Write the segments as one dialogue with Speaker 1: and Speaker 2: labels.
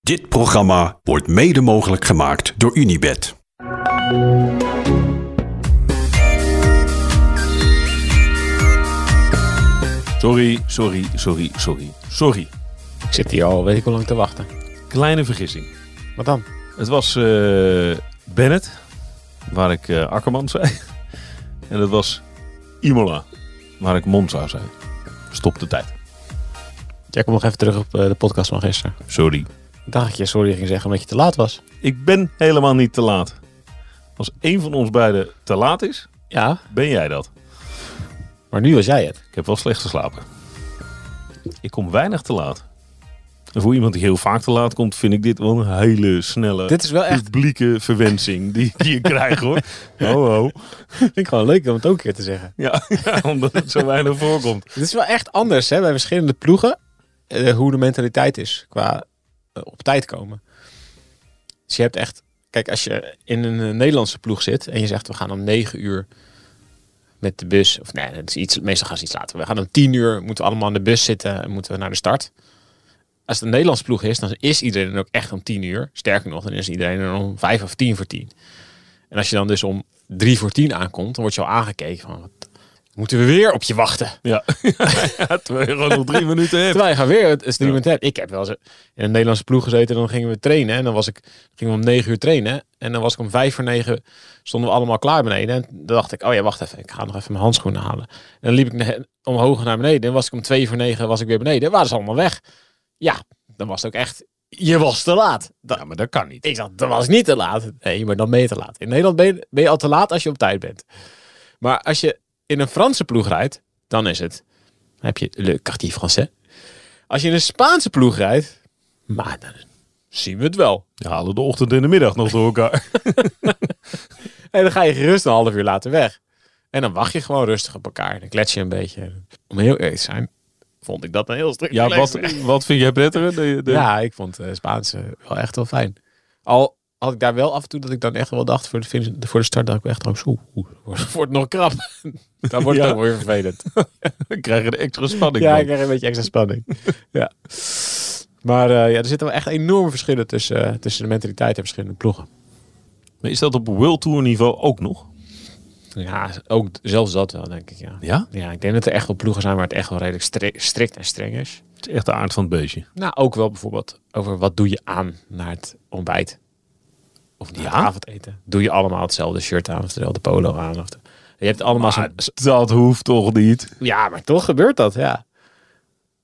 Speaker 1: Dit programma wordt mede mogelijk gemaakt door Unibed.
Speaker 2: Sorry, sorry, sorry, sorry. Sorry.
Speaker 3: Ik zit hier al weet ik hoe lang te wachten.
Speaker 2: Kleine vergissing.
Speaker 3: Wat dan?
Speaker 2: Het was eh, Bennett, waar ik eh, Akkerman zei. En het was Imola, waar ik Monza zei. Stop de tijd.
Speaker 3: Jij komt nog even terug op eh, de podcast van gisteren.
Speaker 2: Sorry.
Speaker 3: Ik dacht dat je sorry ging zeggen omdat je te laat was.
Speaker 2: Ik ben helemaal niet te laat. Als één van ons beiden te laat is,
Speaker 3: Ja,
Speaker 2: ben jij dat.
Speaker 3: maar nu was jij het.
Speaker 2: Ik heb wel slecht geslapen. Ik kom weinig te laat. En voor iemand die heel vaak te laat komt, vind ik dit wel een hele snelle,
Speaker 3: Dit is wel echt,
Speaker 2: publieke verwensing die, die je krijgt hoor. Ho ho.
Speaker 3: vind ik gewoon leuk om het ook een keer te zeggen.
Speaker 2: Ja, ja, omdat het zo weinig voorkomt.
Speaker 3: Dit is wel echt anders hè, bij verschillende ploegen. eh, hoe de mentaliteit is qua eh, op tijd komen. Dus je hebt echt... Kijk, als je in een eh, Nederlandse ploeg zit en je zegt we gaan om 9 uur met de bus. Of nee, dat is iets, meestal gaan ze iets later. We gaan om 10 uur, moeten we allemaal aan de bus zitten en moeten we naar de start. Als het een Nederlandse ploeg is, dan is iedereen er ook echt om 10 uur. Sterker nog, dan is iedereen er om 5 of 10 voor 10. En als je dan dus om 3 voor 10 aankomt, dan word je al aangekeken van... Wat, moeten we weer op je wachten?
Speaker 2: Ja, ja terwijl je gewoon nog drie minuten hebt.
Speaker 3: Terwijl je gaat weer het het streamen hebt. Ik heb wel eens in een Nederlandse ploeg gezeten. Dan gingen we trainen. En dan was ik, gingen we om negen uur trainen. En dan was ik om vijf voor negen. Stonden we allemaal klaar beneden. En dan dacht ik, oh ja, wacht even. Ik ga nog even mijn handschoenen halen. En dan liep ik ne- omhoog naar beneden. En was ik om twee voor negen was ik weer beneden. En waren ze allemaal weg. Ja, dan was het ook echt... Je was te laat. Dat,
Speaker 2: Ja, maar dat kan niet.
Speaker 3: ik dacht, dat was niet te laat. Nee, maar dan ben je te laat. In Nederland ben je, ben je al te laat als je op tijd bent. Maar als je in een Franse ploeg rijdt, dan is het. Dan heb je le quartier français. Als je in een Spaanse ploeg rijdt, maar dan zien we het wel.
Speaker 2: We halen de ochtend en de middag nog door elkaar.
Speaker 3: En dan ga je gerust een half uur later weg. En dan wacht je gewoon rustig op elkaar. Dan klets je een beetje. Om heel eerlijk te zijn, vond ik dat een heel stuk.
Speaker 2: Ja, wat, wat vind jij prettiger? De, de-
Speaker 3: Ja, ik vond eh Spaanse wel echt wel fijn. Al had ik daar wel af en toe dat ik dan echt wel dacht voor de, finish, voor de start, dat ik echt ook zo, oeh, wordt wordt nog krap. dan wordt het
Speaker 2: Ja.
Speaker 3: ook wel weer vervelend.
Speaker 2: Dan krijg je de extra spanning.
Speaker 3: ja,
Speaker 2: van.
Speaker 3: ik krijg een beetje extra spanning. ja. Maar eh, ja, er zitten wel echt enorme verschillen tussen, eh, tussen de mentaliteit en verschillende ploegen.
Speaker 2: Maar is dat op World Tour niveau ook nog?
Speaker 3: Ja, ook zelfs dat wel, denk ik, ja.
Speaker 2: Ja?
Speaker 3: Ja, ik denk dat er echt wel ploegen zijn waar het echt wel redelijk stri- strikt en streng is.
Speaker 2: Het is echt de aard van het beestje.
Speaker 3: Nou, ook wel bijvoorbeeld over wat doe je aan naar het ontbijt. Of naar
Speaker 2: Ja?
Speaker 3: het avondeten. Doe je allemaal hetzelfde shirt aan of hetzelfde polo aan. Of de- Je hebt allemaal zo'n... zo-
Speaker 2: dat hoeft toch niet?
Speaker 3: Ja, maar toch gebeurt dat, ja.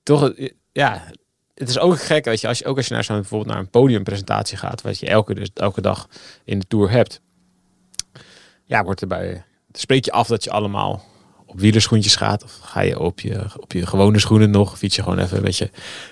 Speaker 3: Toch, eh, ja. Het is ook gek, weet je, als je, ook als je naar zo'n bijvoorbeeld naar een podiumpresentatie gaat, wat je elke, dus, elke dag in de tour hebt. Ja, wordt erbij. Spreek je af dat je allemaal op wielerschoentjes gaat, of ga je op je, op je gewone schoenen nog, fiets je gewoon even met je,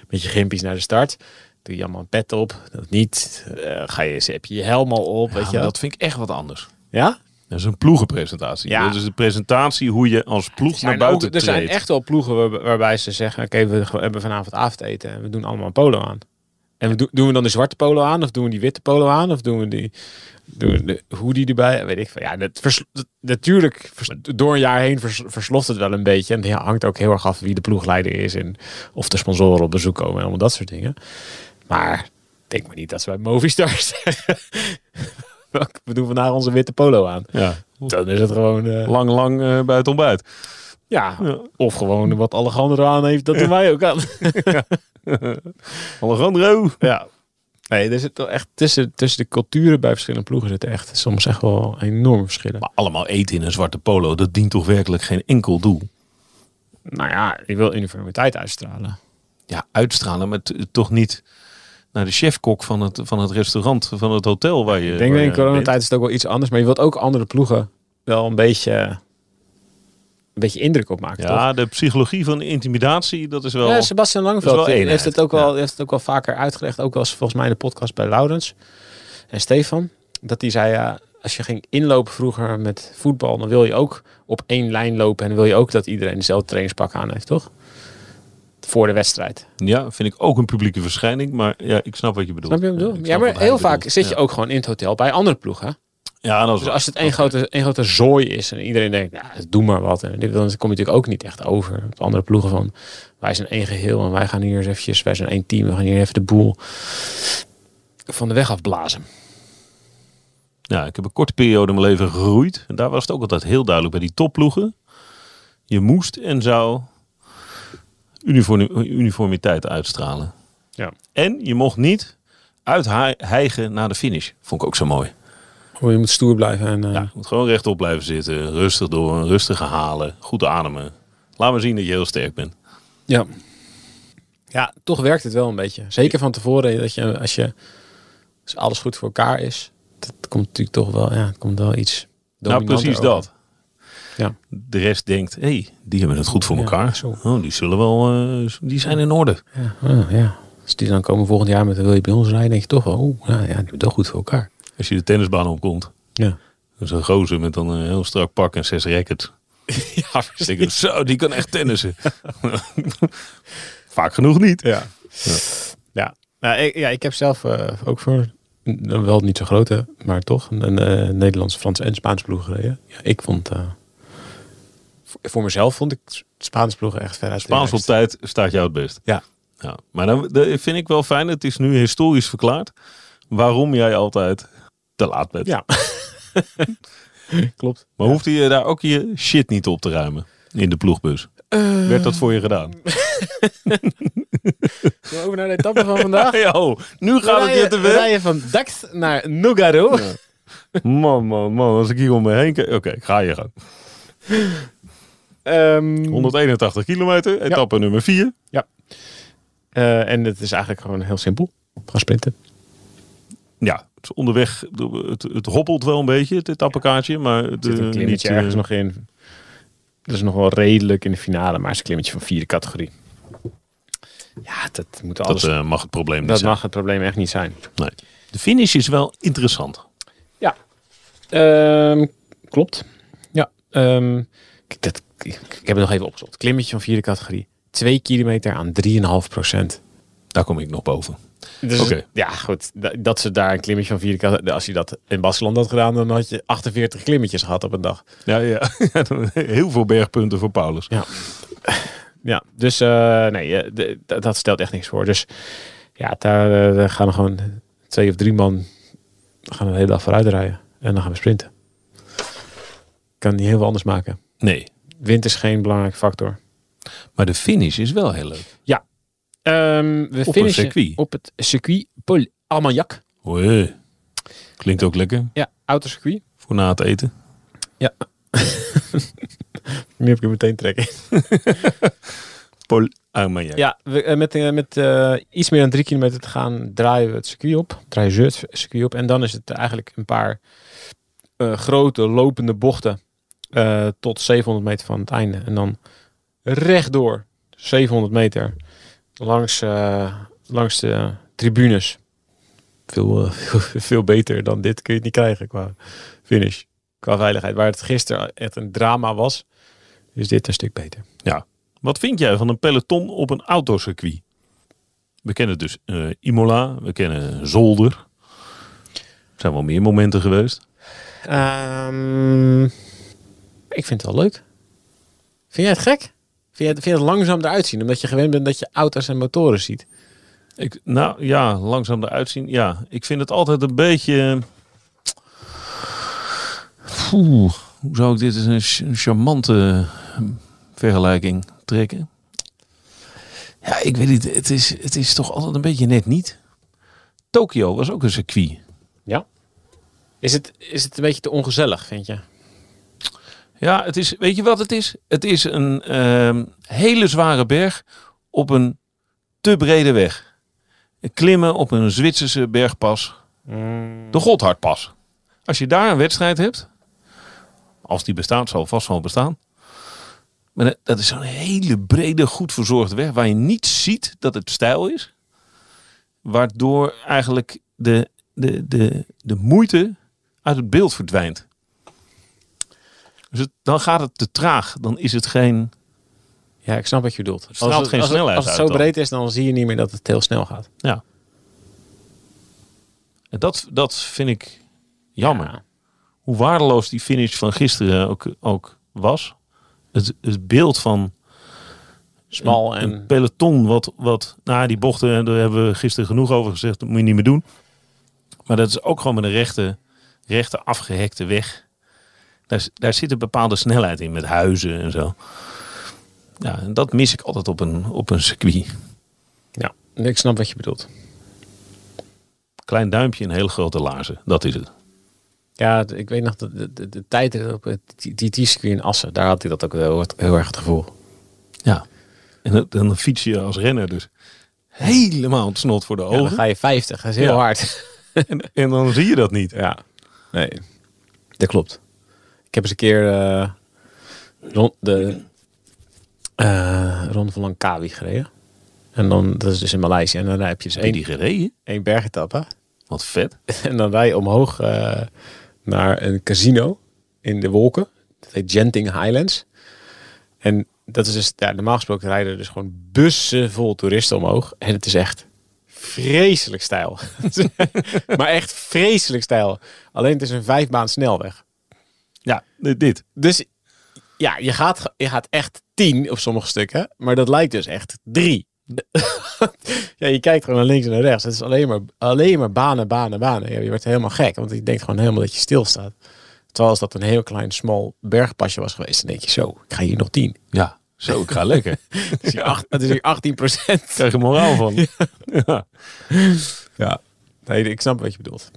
Speaker 3: met je gimpies naar de start. Doe je allemaal een pet op, dat niet. Eh, ga je, heb je je helm al op, weet je wel.
Speaker 2: dat vind ik echt wat anders.
Speaker 3: Ja?
Speaker 2: Dat is een ploegenpresentatie.
Speaker 3: Ja.
Speaker 2: Dat is de presentatie hoe je als ploeg naar
Speaker 3: zijn
Speaker 2: buiten
Speaker 3: ook- er zijn
Speaker 2: treedt.
Speaker 3: echt wel ploegen waar- waarbij ze zeggen: Oké, we ge- hebben vanavond avondeten en we doen allemaal een polo aan. En we do- doen we dan de zwarte polo aan, of doen we die witte polo aan, of doen we die doen we de hoodie erbij? Weet ik veel. Ja, dat vers- dat- natuurlijk, vers- door een jaar heen vers- versloft het wel een beetje. En het ja, hangt ook heel erg af wie de ploegleider is en of de sponsoren op bezoek komen en allemaal dat soort dingen. Maar denk maar niet dat ze bij Movistar zeggen: "Welke- We doen vandaag onze witte polo aan.
Speaker 2: Ja.
Speaker 3: Dan is het gewoon. eh,
Speaker 2: Lang, lang eh, bij het ontbijt.
Speaker 3: ja, of gewoon wat Alejandro aan heeft, dat doen wij ook aan.
Speaker 2: Alejandro.
Speaker 3: Ja. Nee, er zit wel echt tussen, tussen de culturen bij verschillende ploegen zitten echt soms echt wel enorme verschillen.
Speaker 2: Maar allemaal eten in een zwarte polo, dat dient toch werkelijk geen enkel doel?
Speaker 3: Nou ja, ik wil uniformiteit uitstralen.
Speaker 2: ja, uitstralen, maar t- toch niet naar de chefkok van het, van het restaurant, van het hotel waar je.
Speaker 3: Ik denk
Speaker 2: waar
Speaker 3: dat in
Speaker 2: je
Speaker 3: coronatijd is het ook wel iets anders, maar je wilt ook andere ploegen wel een beetje, een beetje indruk op maken.
Speaker 2: bent.
Speaker 3: toch?
Speaker 2: Ja, de psychologie van intimidatie, dat is wel.
Speaker 3: Ja, Sebastian
Speaker 2: Dat
Speaker 3: Langveld
Speaker 2: is wel
Speaker 3: heeft het,
Speaker 2: eenheid,
Speaker 3: ook wel, heeft het ook wel vaker uitgelegd. Ook wel eens volgens mij in de podcast bij Laurens en Stefan. Dat hij zei, ja, als je ging inlopen vroeger met voetbal... dan wil je ook op één lijn lopen... en dan wil je ook dat iedereen dezelfde trainingspak aan heeft, toch? Voor de wedstrijd.
Speaker 2: ja, vind ik ook een publieke verschijning, maar ja, ik snap wat je bedoelt.
Speaker 3: Snap je wat ik bedoel?
Speaker 2: snap
Speaker 3: Ja, maar
Speaker 2: wat hij
Speaker 3: heel vaak
Speaker 2: bedoelt.
Speaker 3: zit je
Speaker 2: Ja.
Speaker 3: ook gewoon in het hotel bij andere ploegen.
Speaker 2: Ja, dat is
Speaker 3: Dus
Speaker 2: waar.
Speaker 3: als het één grote, één grote zooi is en iedereen denkt, nou, doe maar wat. En dit, dan kom je natuurlijk ook niet echt over op andere ploegen van, wij zijn één geheel en wij gaan hier eens eventjes, wij zijn één team, we gaan hier even de boel. van de weg afblazen.
Speaker 2: Ja, ik heb een korte periode in mijn leven gegroeid. En daar was het ook altijd heel duidelijk bij die topploegen. Je moest en zou uniform- uniformiteit uitstralen.
Speaker 3: Ja.
Speaker 2: En je mocht niet uithijgen naar de finish. Vond ik ook zo mooi.
Speaker 3: Hoe je moet stoer blijven. En, eh,
Speaker 2: Ja, je moet gewoon rechtop blijven zitten. Rustig door, rustig halen. Goed ademen. Laat maar zien dat je heel sterk bent.
Speaker 3: Ja. Ja, toch werkt het wel een beetje. Zeker van tevoren, dat je, als je als alles goed voor elkaar is, dat komt natuurlijk toch wel, ja, het komt wel iets.
Speaker 2: Nou,
Speaker 3: dominanter
Speaker 2: precies
Speaker 3: over.
Speaker 2: dat.
Speaker 3: Ja.
Speaker 2: De rest denkt, hé, hey, die hebben het goed voor
Speaker 3: Ja,
Speaker 2: elkaar.
Speaker 3: zo.
Speaker 2: Oh, die zullen wel, eh, die zijn in orde.
Speaker 3: Ja, ah, ja. Als die dan komen volgend jaar met wil je bij ons rijden, denk je toch wel, oeh, nou ja, die hebben het wel goed voor elkaar.
Speaker 2: Als je de tennisbaan opkomt,
Speaker 3: Ja.
Speaker 2: dan is een gozer met dan een heel strak pak en zes rackets.
Speaker 3: Ja,
Speaker 2: Dus ik denk, zo, die kan echt tennissen. Vaak genoeg niet.
Speaker 3: Ja. Ja. Ja. Nou, ik, ja, ik heb zelf eh, ook voor, n- wel niet zo grote, maar toch, een, eh, Nederlandse, Franse en Spaanse ploeg gereden. Ja, ik vond, eh, voor, voor mezelf vond ik Spaanse ploegen echt veruit. de
Speaker 2: Spaans op
Speaker 3: sterkste.
Speaker 2: tijd staat jou het best.
Speaker 3: Ja.
Speaker 2: Ja, maar dan dat vind ik wel fijn. Het is nu historisch verklaard waarom jij altijd te laat bent.
Speaker 3: Ja. Klopt.
Speaker 2: Maar hoefde je daar ook je shit niet op te ruimen in de ploegbus?
Speaker 3: Eh.
Speaker 2: Werd dat voor je gedaan?
Speaker 3: over naar de etappe van vandaag?
Speaker 2: Ja, oh, nu gaat het je te
Speaker 3: We
Speaker 2: ver.
Speaker 3: rijden van Dax naar Nogaro.
Speaker 2: Man, man, man, als ik hier om me heen kijk. Oké, ik ga je gaan.
Speaker 3: Ehm,
Speaker 2: 181 kilometer, etappe nummer 4.
Speaker 3: eh, en het is eigenlijk gewoon heel simpel. Gaan sprinten.
Speaker 2: Ja, het is onderweg, het, het hoppelt wel een beetje, het etappekaartje. Maar het,
Speaker 3: Er zit
Speaker 2: eh,
Speaker 3: een klimmetje
Speaker 2: niet,
Speaker 3: ergens
Speaker 2: eh,
Speaker 3: nog in. Dat is nog wel redelijk in de finale, maar het is een klimmetje van vierde categorie. Ja, dat moet alles...
Speaker 2: Dat eh, mag het probleem niet
Speaker 3: dat
Speaker 2: zijn.
Speaker 3: mag het probleem echt niet zijn.
Speaker 2: Nee. De finish is wel interessant.
Speaker 3: Ja. Ehm, klopt. Ja. ehm, kijk, dat, ik, ik heb het nog even opgezocht. Klimmetje van vierde categorie. Twee kilometer aan 3,5 procent.
Speaker 2: Daar kom ik nog boven.
Speaker 3: Dus
Speaker 2: Oké.
Speaker 3: ja, goed. da- Dat ze daar een klimmetje van vierde kant. Als je dat in Baskeland had gedaan, dan had je 48 klimmetjes gehad op een dag.
Speaker 2: Ja, ja. Heel veel bergpunten voor Paulus.
Speaker 3: Ja. Ja, dus eh, nee, eh, de- dat- dat stelt echt niks voor. Dus ja, daar eh, daar gaan we gewoon twee of drie man gaan we de hele dag vooruit rijden. En dan gaan we sprinten. Kan niet heel veel anders maken.
Speaker 2: Nee,
Speaker 3: Wind is geen belangrijk factor.
Speaker 2: maar de finish is wel heel leuk.
Speaker 3: Ehm, we
Speaker 2: een
Speaker 3: finishen
Speaker 2: circuit.
Speaker 3: Op het circuit Paul Almagnac.
Speaker 2: Oei. Klinkt ook lekker
Speaker 3: Ja, autocircuit.
Speaker 2: voor na het eten.
Speaker 3: Nu heb ik hem meteen trekken.
Speaker 2: Paul Armagnac.
Speaker 3: Ja, we, eh, met, eh, met eh, iets meer dan drie kilometer te gaan draaien we het circuit op. Draaien ze het circuit op. En dan is het eigenlijk een paar eh, grote lopende bochten eh, tot 700 meter van het einde. En dan rechtdoor 700 meter langs, eh, langs de tribunes. Veel, eh, veel beter dan dit kun je het niet krijgen qua finish. Qua veiligheid. Waar het gisteren echt een drama was, is dit een stuk beter.
Speaker 2: Wat vind jij van een peloton op een autocircuit? We kennen dus eh, Imola, we kennen Zolder. Er zijn wel meer momenten geweest.
Speaker 3: Ehm, ik vind het wel leuk. Vind jij het gek? Vind je het, vind je het langzaam eruit zien? Omdat je gewend bent dat je auto's en motoren ziet.
Speaker 2: Ik, nou ja, langzaam eruit zien. Ja, ik vind het altijd een beetje... Oeh, hoe zou ik dit eens een ch- een charmante eh, vergelijking trekken? Ja, ik weet niet. Het is, het is toch altijd een beetje net niet. Tokio was ook een circuit.
Speaker 3: Ja. Is het, is het een beetje te ongezellig, vind je?
Speaker 2: Ja, het is, weet je wat het is? Het is een ehm, hele zware berg op een te brede weg. Klimmen op een Zwitserse bergpas, de Godhardpas. Als je daar een wedstrijd hebt, als die bestaat, zal vast wel bestaan. Maar dat- dat is zo'n hele brede, goed verzorgde weg waar je niet ziet dat het stijl is. Waardoor eigenlijk de, de, de, de moeite uit het beeld verdwijnt. Dus het- dan gaat het te traag. Dan is het geen.
Speaker 3: Ja, ik snap wat je bedoelt. Als
Speaker 2: straalt geen
Speaker 3: als
Speaker 2: snelheid
Speaker 3: Als het
Speaker 2: uit
Speaker 3: zo
Speaker 2: dan.
Speaker 3: breed is, dan zie je niet meer dat het heel snel gaat.
Speaker 2: Ja. En dat, dat vind ik jammer.
Speaker 3: Ja.
Speaker 2: Hoe waardeloos die finish van gisteren ook, ook was. Het, het beeld van
Speaker 3: Smal
Speaker 2: een
Speaker 3: en...
Speaker 2: peloton. Wat, wat na die bochten, en daar hebben we gisteren genoeg over gezegd. Dat moet je niet meer doen. Maar dat is ook gewoon met een rechte, rechte afgehekte weg. Daar, s- daar zit een bepaalde snelheid in met huizen en zo. Ja, en dat mis ik altijd op een, op een circuit.
Speaker 3: Ja, ik snap wat je bedoelt.
Speaker 2: Klein duimpje en hele grote laarzen. Dat is het.
Speaker 3: Ja, d- ik weet nog dat de, de, de tijd op het TT-circuit in Assen, daar had hij dat ook heel, heel erg het gevoel.
Speaker 2: Ja. En dan, dan fiets je als renner dus helemaal het snot voor de
Speaker 3: Ja, dan
Speaker 2: ogen.
Speaker 3: ga je 50, dat is heel
Speaker 2: Ja.
Speaker 3: hard.
Speaker 2: en, eh, en dan zie je dat niet.
Speaker 3: Ja, nee, dat klopt. Ik heb eens een keer eh, rond de eh Ronde van Langkawi gereden. En dan, dat is dus in Maleisië. En dan heb je dus
Speaker 2: Heb je
Speaker 3: één,
Speaker 2: die gereden?
Speaker 3: één bergetap, hè?
Speaker 2: Wat vet.
Speaker 3: En dan rij je omhoog eh, naar een casino in de wolken. Dat heet Genting Highlands. En dat is dus, ja, normaal gesproken rijden er dus gewoon bussen vol toeristen omhoog. En het is echt vreselijk stijl. maar echt vreselijk stijl. Alleen het is een vijfbaan snelweg.
Speaker 2: Ja, dit. dit.
Speaker 3: Dus ja, je gaat, je gaat echt tien op sommige stukken, maar dat lijkt dus echt drie. ja, je kijkt gewoon naar links en naar rechts. Het is alleen maar, alleen maar banen, banen, banen. Ja, je wordt helemaal gek, want je denkt gewoon helemaal dat je stilstaat. Terwijl als dat een heel klein, smal bergpasje was geweest, dan denk je zo, ik ga hier nog tien.
Speaker 2: Ja, zo, Oh, ik ga lekker.
Speaker 3: Het is hier, acht, het is hier 18 procent.
Speaker 2: krijg je moraal van. Ja.
Speaker 3: Ja, nee, ik snap wat je bedoelt.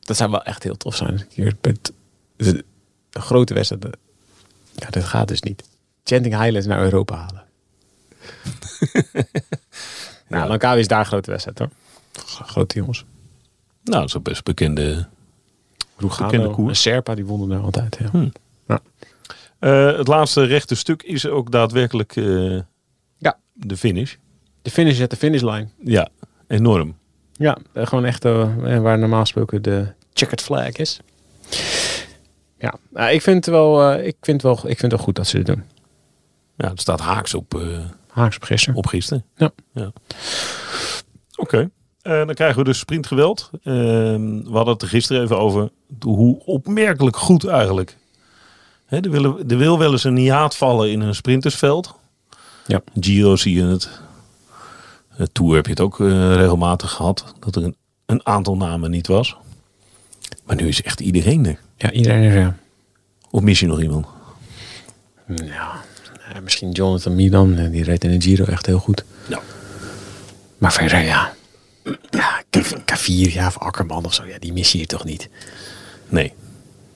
Speaker 3: Dat zou wel echt heel tof zijn. als ik Hier met de een grote wedstrijd. Ja, dat gaat dus niet. Chanting Highlands naar Europa halen. nou, Langkawi is daar een grote wedstrijd hoor. G- Grote jongens.
Speaker 2: Nou, dat is een best bekende. Bekende
Speaker 3: Roegano
Speaker 2: koers.
Speaker 3: en Serpa, die wonnen daar altijd. Ja.
Speaker 2: Hmm.
Speaker 3: Ja.
Speaker 2: Eh, het laatste rechte stuk is ook daadwerkelijk eh,
Speaker 3: Ja.
Speaker 2: de finish.
Speaker 3: De finish at de finishlijn.
Speaker 2: Ja, enorm.
Speaker 3: Ja, eh, gewoon echt eh, eh, waar normaal gesproken de checkered flag is. Ja, nou, ik, vind het wel, eh, ik, vind het wel, ik vind het wel goed dat ze dit doen.
Speaker 2: Ja, het staat haaks op, eh,
Speaker 3: Haaks op gisteren.
Speaker 2: op gisteren.
Speaker 3: Ja.
Speaker 2: Oké. Eh, dan krijgen we dus sprintgeweld. Eh, we hadden het er gisteren even over hoe opmerkelijk goed eigenlijk. Hè, er, wil, er wil wel eens een hiaat vallen in een sprintersveld.
Speaker 3: Ja.
Speaker 2: Giro zie je het. Eh, Tour heb je het ook eh, regelmatig gehad. Dat er een, een aantal namen niet was. Maar nu is echt iedereen er.
Speaker 3: Ja, iedereen is ja.
Speaker 2: Of mis je nog iemand?
Speaker 3: Ja, eh, misschien Jonathan Milan, eh, die reed in de Giro echt heel goed.
Speaker 2: Nou,
Speaker 3: Maar verder, ja. Ja, K- K4 ja, of Akkerman of zo, ja, die mis je hier toch niet.
Speaker 2: nee.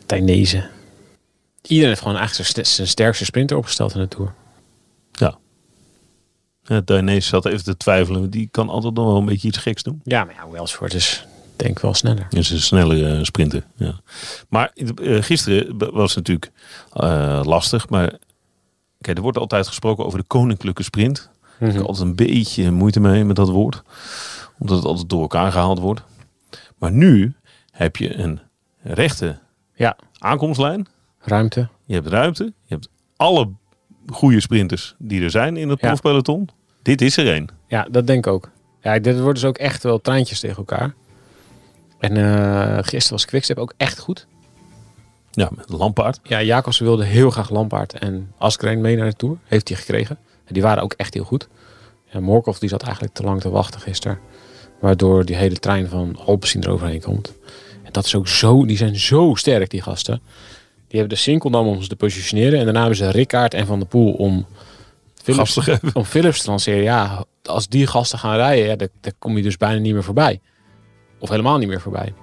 Speaker 3: Tijnezen. Iedereen heeft gewoon eigenlijk zijn st- zijn sterkste sprinter opgesteld in de Tour.
Speaker 2: Ja. Ja, Dainese zat even te twijfelen. want Die kan altijd nog wel een beetje iets geks doen.
Speaker 3: Ja, maar ja, Welsford is denk ik wel sneller.
Speaker 2: Dat is een snelle eh, sprinter. Ja. Maar eh, gisteren b- was het natuurlijk eh, lastig. Maar kijk, er wordt altijd gesproken over de koninklijke sprint. Ik heb altijd een beetje moeite mee met dat woord. Omdat het altijd door elkaar gehaald wordt. Maar nu heb je een rechte
Speaker 3: Ja,
Speaker 2: aankomstlijn.
Speaker 3: ruimte.
Speaker 2: Je hebt ruimte. Je hebt alle goede sprinters die er zijn in het
Speaker 3: Ja.
Speaker 2: profpeloton. Dit is er één.
Speaker 3: Ja, dat denk ik ook. Ja, dit wordt dus ook echt wel treintjes tegen elkaar. En eh, gisteren was Quickstep ook echt goed.
Speaker 2: Ja, met een lampaard.
Speaker 3: Ja, Jacobsen wilde heel graag Lampaard en Askreen mee naar de Tour. Heeft hij gekregen. En die waren ook echt heel goed. En Morkov die zat eigenlijk te lang te wachten gisteren. Waardoor die hele trein van Alpecin eroverheen komt. En dat is ook zo... Die zijn zo sterk, die gasten. Die hebben de Sinkeldam om ze te positioneren. En daarna hebben ze Rickaard en Van der Poel om...
Speaker 2: Gas te geven.
Speaker 3: Om Philips te lanceren. Ja, als die gasten gaan rijden, ja, daar, daar kom je dus bijna niet meer voorbij. Of helemaal niet meer voorbij.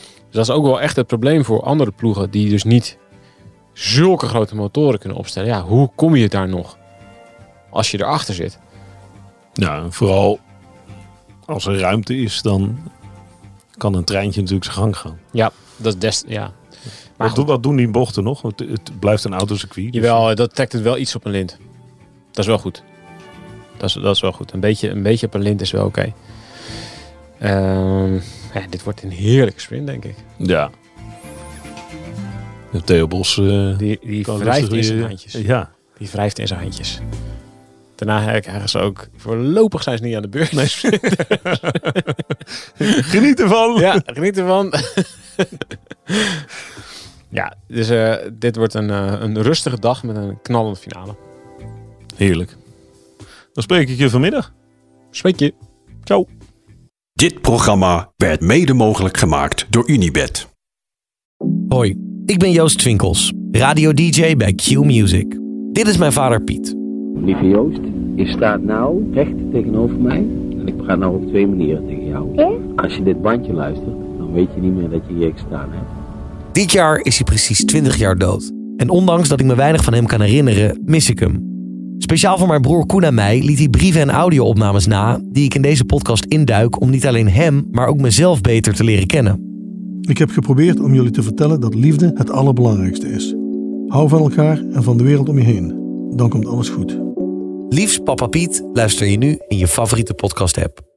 Speaker 3: Dus dat is ook wel echt het probleem voor andere ploegen die dus niet zulke grote motoren kunnen opstellen. Ja, hoe kom je daar nog? Als je erachter zit.
Speaker 2: Ja, en vooral als er ruimte is, dan kan een treintje natuurlijk zijn gang gaan.
Speaker 3: Ja, dat is des. Ja. Maar
Speaker 2: Wat,
Speaker 3: goed,
Speaker 2: doen, wat doen die bochten nog? Want het blijft een autocircuit. dus-
Speaker 3: jawel, dat trekt het wel iets op een lint. Dat is wel goed. Dat is, dat is wel goed. Een beetje, een beetje op een lint is wel oké. Ehm, ja, dit wordt een heerlijke sprint, denk ik.
Speaker 2: Ja. De Theo Bos... eh,
Speaker 3: Die, die
Speaker 2: kan
Speaker 3: wrijft
Speaker 2: rustig
Speaker 3: in zijn
Speaker 2: weer-
Speaker 3: handjes.
Speaker 2: Ja.
Speaker 3: Die wrijft in zijn handjes. Daarna krijgen ze ook... Voorlopig zijn ze niet aan de beurt.
Speaker 2: Geniet ervan!
Speaker 3: Ja, geniet ervan. ja, dus eh, dit wordt een, eh, een rustige dag met een knallende finale.
Speaker 2: Heerlijk. Dan spreek ik je vanmiddag.
Speaker 3: Spreek je.
Speaker 2: Ciao.
Speaker 1: Dit programma werd mede mogelijk gemaakt door Unibed.
Speaker 4: Hoi, ik ben Joost Twinkels, radio-dj bij Q-Music. Dit is mijn vader Piet.
Speaker 5: Lieve Joost, je staat nou recht tegenover mij. En ik praat nou op twee manieren tegen jou. Als je dit bandje luistert, dan weet je niet meer dat je hier gestaan hebt.
Speaker 4: Dit jaar is hij precies 20 jaar dood. En ondanks dat ik me weinig van hem kan herinneren, mis ik hem. Speciaal voor mijn broer Koen en mij liet hij brieven en audio-opnames na... die ik in deze podcast induik om niet alleen hem, maar ook mezelf beter te leren kennen.
Speaker 6: Ik heb geprobeerd om jullie te vertellen dat liefde het allerbelangrijkste is. Hou van elkaar en van de wereld om je heen. Dan komt alles goed.
Speaker 4: Liefst Papa Piet luister je nu in je favoriete podcast-app.